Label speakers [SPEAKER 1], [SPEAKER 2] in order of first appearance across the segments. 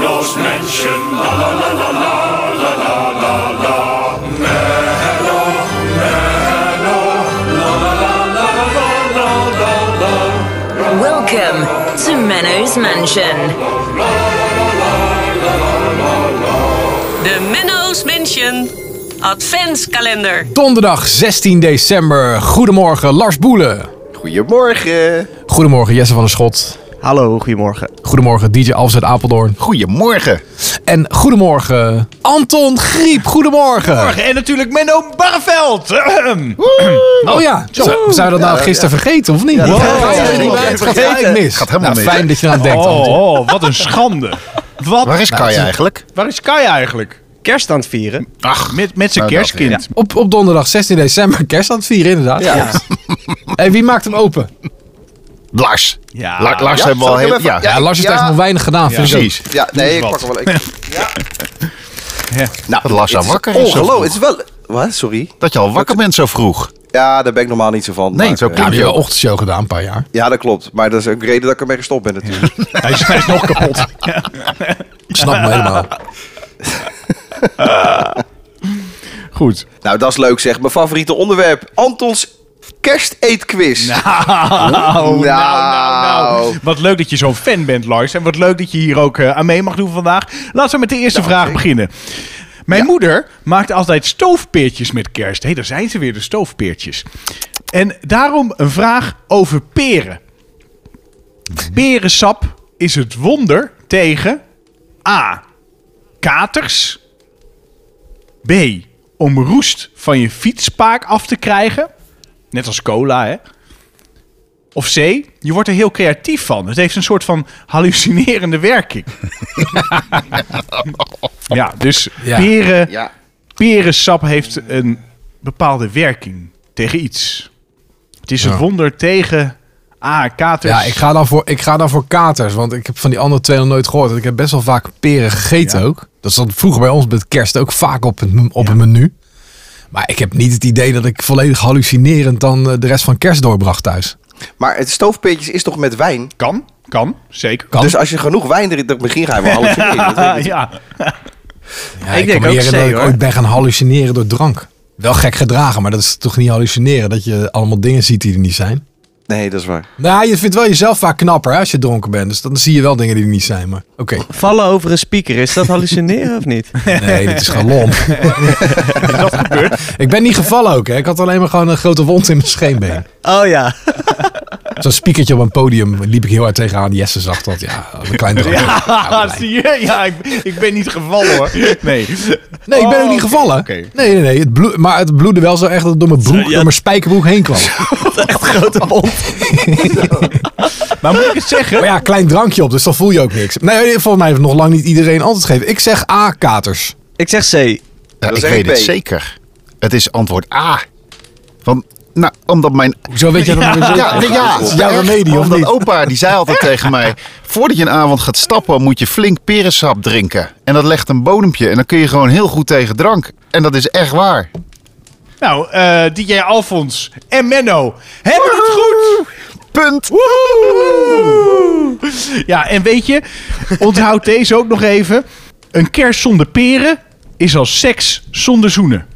[SPEAKER 1] Volksmenschen. La la la la la la la la la. Menno, Menno, la la la la la la la la.
[SPEAKER 2] Welcome to Menno's Mansion.
[SPEAKER 3] De Menno's Mansion Adventskalender.
[SPEAKER 4] Donderdag 16 december. Goedemorgen Lars Boelen.
[SPEAKER 5] Eh,
[SPEAKER 6] Goedemorgen.
[SPEAKER 4] Goedemorgen Jesse van der Schot.
[SPEAKER 6] Hallo, goedemorgen.
[SPEAKER 4] Goedemorgen DJ Alves uit Apeldoorn.
[SPEAKER 6] Goedemorgen.
[SPEAKER 4] En goedemorgen Anton Griep. Goedemorgen.
[SPEAKER 6] En natuurlijk Menno Barreveld.
[SPEAKER 4] Oh ja, zo. Zou je dat nou gisteren vergeten of niet? Ja,
[SPEAKER 6] ja, ja,
[SPEAKER 4] je er niet
[SPEAKER 6] ja,
[SPEAKER 4] bij? Het
[SPEAKER 6] ja,
[SPEAKER 4] gaat
[SPEAKER 6] vergeten.
[SPEAKER 4] eigenlijk mis.
[SPEAKER 5] Gaat helemaal
[SPEAKER 4] Nou,
[SPEAKER 5] mis,
[SPEAKER 4] Fijn
[SPEAKER 5] hè?
[SPEAKER 4] dat je eraan denkt Anton.
[SPEAKER 7] Oh, oh, wat een schande. Wat,
[SPEAKER 5] Waar is Kai eigenlijk?
[SPEAKER 7] waar is Kai eigenlijk?
[SPEAKER 6] Kerst aan het vieren.
[SPEAKER 7] Ach, met, met zijn
[SPEAKER 5] nou, dat
[SPEAKER 7] kerstkind.
[SPEAKER 4] Op, op donderdag 16 december kerst aan het vieren inderdaad. Ja. En wie maakt hem open?
[SPEAKER 5] Lars.
[SPEAKER 7] Ja.
[SPEAKER 5] La- Lars
[SPEAKER 6] Ja,
[SPEAKER 5] hebben we al
[SPEAKER 6] zal ik
[SPEAKER 5] heel...
[SPEAKER 6] hem even-
[SPEAKER 5] Ja,
[SPEAKER 4] Ja, Lars heeft
[SPEAKER 6] ja.
[SPEAKER 4] eigenlijk nog weinig gedaan. Vind ik ook.
[SPEAKER 5] precies.
[SPEAKER 6] Ja, nee, ik
[SPEAKER 7] wat.
[SPEAKER 6] pak hem wel. Ik,
[SPEAKER 5] Nou, dat Lars al wakker is. zo
[SPEAKER 6] ongeloof,
[SPEAKER 5] vroeg.
[SPEAKER 6] het is wel... Wat? Sorry?
[SPEAKER 5] Dat je al wakker bent zo vroeg.
[SPEAKER 6] Ja, daar ben ik normaal niet zo van.
[SPEAKER 5] Nee,
[SPEAKER 6] maar,
[SPEAKER 5] zo
[SPEAKER 6] eh,
[SPEAKER 4] Ja,
[SPEAKER 5] klinkt
[SPEAKER 4] we
[SPEAKER 5] je
[SPEAKER 4] hebben
[SPEAKER 5] ook.
[SPEAKER 4] ochtendshow gedaan een paar jaar.
[SPEAKER 6] Ja, dat klopt. Maar dat is ook de reden dat ik ermee gestopt ben natuurlijk.
[SPEAKER 7] Hij, is, hij is nog kapot.
[SPEAKER 4] Ik snap me helemaal.
[SPEAKER 7] Goed.
[SPEAKER 6] nou, dat is leuk zeg. Mijn favoriete onderwerp. Antons kersteetquiz.
[SPEAKER 7] Oh, nou, nou,
[SPEAKER 6] nou.
[SPEAKER 7] nou. Wat leuk dat je zo'n fan bent, Lars. En wat leuk dat je hier ook eh, aan mee mag doen vandaag. Laten we met de eerste vraag beginnen. Mijn moeder maakt altijd stoofpeertjes met kerst. Hé, daar zijn ze weer, de stoofpeertjes. En daarom een vraag over peren. Perensap is het wonder tegen A. Katers. B. Om roest van je fietspaak af te krijgen. Net als cola, hè? Of C, je wordt er heel creatief van. Het heeft een soort van hallucinerende werking. ja, dus
[SPEAKER 4] Ja.
[SPEAKER 7] Peren,
[SPEAKER 6] Ja.
[SPEAKER 7] perensap heeft een bepaalde werking tegen iets. Het is een wonder tegen A, katers.
[SPEAKER 4] Ja, ik ga, dan voor, ik ga dan voor katers. Want ik heb van die andere twee nog nooit gehoord. Want ik heb best wel vaak peren gegeten ook. Dat zat vroeger bij ons met kerst ook vaak op het, op het menu. Maar ik heb niet het idee dat ik volledig hallucinerend dan eh, de rest van kerst doorbracht thuis.
[SPEAKER 6] Maar het stoofpeetjes is toch met wijn?
[SPEAKER 7] Kan, kan, zeker.
[SPEAKER 4] Kan.
[SPEAKER 6] Dus als je genoeg wijn erin... dan Misschien ga je wel alles erin. Dat weet ik
[SPEAKER 7] Ah,
[SPEAKER 6] niet.
[SPEAKER 7] ja.
[SPEAKER 4] Ja,
[SPEAKER 7] Ik
[SPEAKER 4] kan
[SPEAKER 7] denk
[SPEAKER 4] me
[SPEAKER 7] ook
[SPEAKER 4] niet
[SPEAKER 7] C,
[SPEAKER 4] herinneren dat ik
[SPEAKER 7] hoor.
[SPEAKER 4] ooit ben gaan hallucineren door drank. Wel gek gedragen, maar dat is toch niet hallucineren. Dat je allemaal dingen ziet die er niet zijn.
[SPEAKER 6] Nee, dat is waar.
[SPEAKER 4] Nou, je vindt wel jezelf vaak knapper hè, als je dronken bent. Dus dan zie je wel dingen die er niet zijn. Maar oké,
[SPEAKER 8] Vallen over een speaker, is dat hallucineren of niet?
[SPEAKER 4] nee, dit is gewoon lom.
[SPEAKER 7] Dat gebeurt.
[SPEAKER 4] ik ben niet gevallen ook. Hè. Ik had alleen maar gewoon een grote wond in mijn scheenbeen.
[SPEAKER 8] Oh ja.
[SPEAKER 4] Zo'n spiekertje op een podium liep ik heel hard tegenaan. Jesse zag dat. Ja, dat was een klein drankje.
[SPEAKER 7] Ah, zie je? Ja, ik, ik ben niet gevallen hoor. Nee.
[SPEAKER 4] Nee, ik ben ook niet
[SPEAKER 7] Oh,
[SPEAKER 4] gevallen.
[SPEAKER 7] oké.
[SPEAKER 4] Nee, nee, nee. Het bloed, maar het bloedde wel zo echt dat het door mijn, broek, door mijn spijkerbroek heen kwam.
[SPEAKER 7] Maar moet ik het zeggen?
[SPEAKER 4] Maar ja, klein drankje op, dus dan voel je ook niks. Nee, nee, volgens mij heeft nog lang niet iedereen antwoord gegeven. Ik zeg A, katers.
[SPEAKER 8] Ik zeg C.
[SPEAKER 5] Ja,
[SPEAKER 6] Dan
[SPEAKER 5] ik
[SPEAKER 6] zeg ik
[SPEAKER 5] weet het
[SPEAKER 6] B.
[SPEAKER 5] zeker. Het is antwoord A. Want, nou, omdat mijn...
[SPEAKER 4] Zo weet je dat nog weer
[SPEAKER 5] Ja,
[SPEAKER 4] zeker?
[SPEAKER 5] nee, ja,
[SPEAKER 4] Dat is
[SPEAKER 5] echt.
[SPEAKER 4] jouw remedie, of
[SPEAKER 5] Omdat
[SPEAKER 4] niet?
[SPEAKER 5] opa, die zei altijd tegen mij... Voordat je een avond gaat stappen, moet je flink perensap drinken. En dat legt een bodempje. En dan kun je gewoon heel goed tegen drank. En dat is echt waar.
[SPEAKER 7] Nou, eh, DJ Alfons en Menno hebben het goed.
[SPEAKER 5] Punt.
[SPEAKER 7] Ja, en weet je, onthoud deze ook nog even. Een kerst zonder peren is als seks zonder zoenen.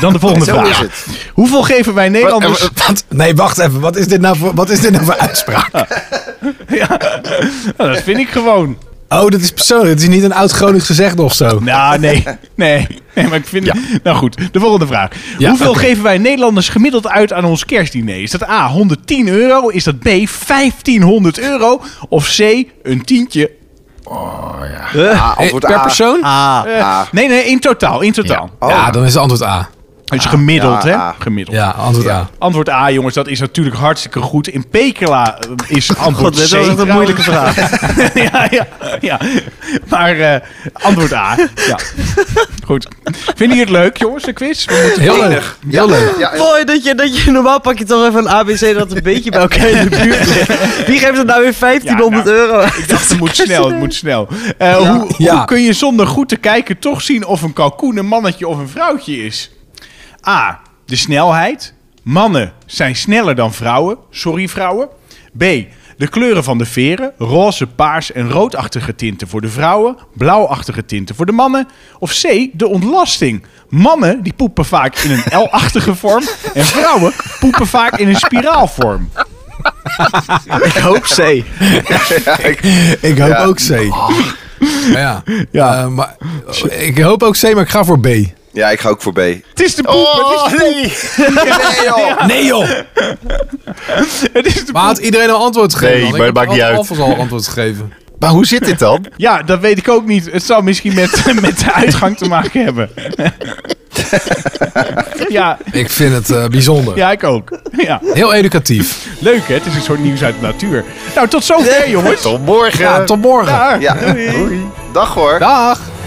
[SPEAKER 7] Dan de volgende
[SPEAKER 6] Zo
[SPEAKER 7] vraag.
[SPEAKER 6] is het.
[SPEAKER 7] Hoeveel geven wij Nederlanders...
[SPEAKER 5] Wat-
[SPEAKER 4] Wat? Nee, wacht even. Wat is dit nou voor, wat is dit nou voor uitspraak?
[SPEAKER 7] Nou, dat vind ik gewoon.
[SPEAKER 4] Oh, dat is persoonlijk. Het is niet een oud-Gronings gezegd of zo.
[SPEAKER 7] Nou, nee. Nee, nee maar ik vind... Nou goed, de volgende vraag.
[SPEAKER 4] Ja,
[SPEAKER 7] Hoeveel
[SPEAKER 4] oké.
[SPEAKER 7] geven wij Nederlanders gemiddeld uit aan ons kerstdiner? Is dat A, 110 euro? Is dat B, 1500 euro? Of C, een tientje?
[SPEAKER 6] Ah, antwoord
[SPEAKER 4] per
[SPEAKER 6] A.
[SPEAKER 4] persoon?
[SPEAKER 7] Eh, Nee, nee, in totaal. In totaal.
[SPEAKER 4] Ja, dan is het antwoord A.
[SPEAKER 7] Dus gemiddeld,
[SPEAKER 6] Ja, A.
[SPEAKER 7] hè? Gemiddeld.
[SPEAKER 4] Ja, antwoord A.
[SPEAKER 7] Antwoord A, jongens, dat is natuurlijk hartstikke goed. In Pekela eh, is antwoord
[SPEAKER 8] God,
[SPEAKER 7] C.
[SPEAKER 8] dit was echt een
[SPEAKER 7] trouwens.
[SPEAKER 8] moeilijke vraag.
[SPEAKER 7] ja, ja, ja. Maar eh, antwoord A. Ja. Goed. Vinden jullie het leuk, jongens, de quiz? We moeten-
[SPEAKER 4] Heel leuk. Heel leuk.
[SPEAKER 6] Ja, ja.
[SPEAKER 8] Mooi dat je, dat je normaal pak je toch even een ABC dat een beetje bij elkaar in de buurt ligt. Wie geeft het nou weer 1500
[SPEAKER 7] Ja, nou,
[SPEAKER 8] euro?
[SPEAKER 7] Ik dacht, het moet snel, het moet snel. Eh, hoe,
[SPEAKER 4] Ja.
[SPEAKER 7] hoe kun je zonder goed te kijken toch zien of een kalkoen een mannetje of een vrouwtje is? A. De snelheid. Mannen zijn sneller dan vrouwen. Sorry, vrouwen. B. De kleuren van de veren, roze, paars en roodachtige tinten voor de vrouwen, blauwachtige tinten voor de mannen. Of C, de ontlasting. Mannen die poepen vaak in een L-achtige vorm en vrouwen poepen vaak in een spiraalvorm.
[SPEAKER 8] Ik hoop C.
[SPEAKER 4] Ik hoop ook C. Maar ja,
[SPEAKER 7] Ja.
[SPEAKER 4] eh, maar, ik hoop ook C, maar ik ga voor B.
[SPEAKER 6] Ja, ik ga ook voor B.
[SPEAKER 7] Het is de poep, het, is de poep.
[SPEAKER 6] Oh, Nee, joh.
[SPEAKER 4] Nee joh!
[SPEAKER 7] het is de
[SPEAKER 4] Maar had iedereen al antwoord gegeven?
[SPEAKER 5] Nee,
[SPEAKER 4] Dan? Ik
[SPEAKER 5] maar
[SPEAKER 4] heb
[SPEAKER 5] dat maakt
[SPEAKER 4] al-
[SPEAKER 5] niet
[SPEAKER 4] alvast al antwoord gegeven.
[SPEAKER 5] Maar hoe zit dit dan?
[SPEAKER 7] Ja, dat weet ik ook niet. Het zou misschien met, met de uitgang te maken hebben. ja,
[SPEAKER 4] Ik vind het eh, bijzonder.
[SPEAKER 7] ja, ik ook. Ja.
[SPEAKER 4] Heel educatief.
[SPEAKER 7] Leuk, hè? Het is een soort nieuws uit de natuur. Nou, tot zover, jongens.
[SPEAKER 5] Tot morgen.
[SPEAKER 4] Ja, tot morgen.
[SPEAKER 7] Daar.
[SPEAKER 6] Ja. Dag hoor.
[SPEAKER 4] Dag!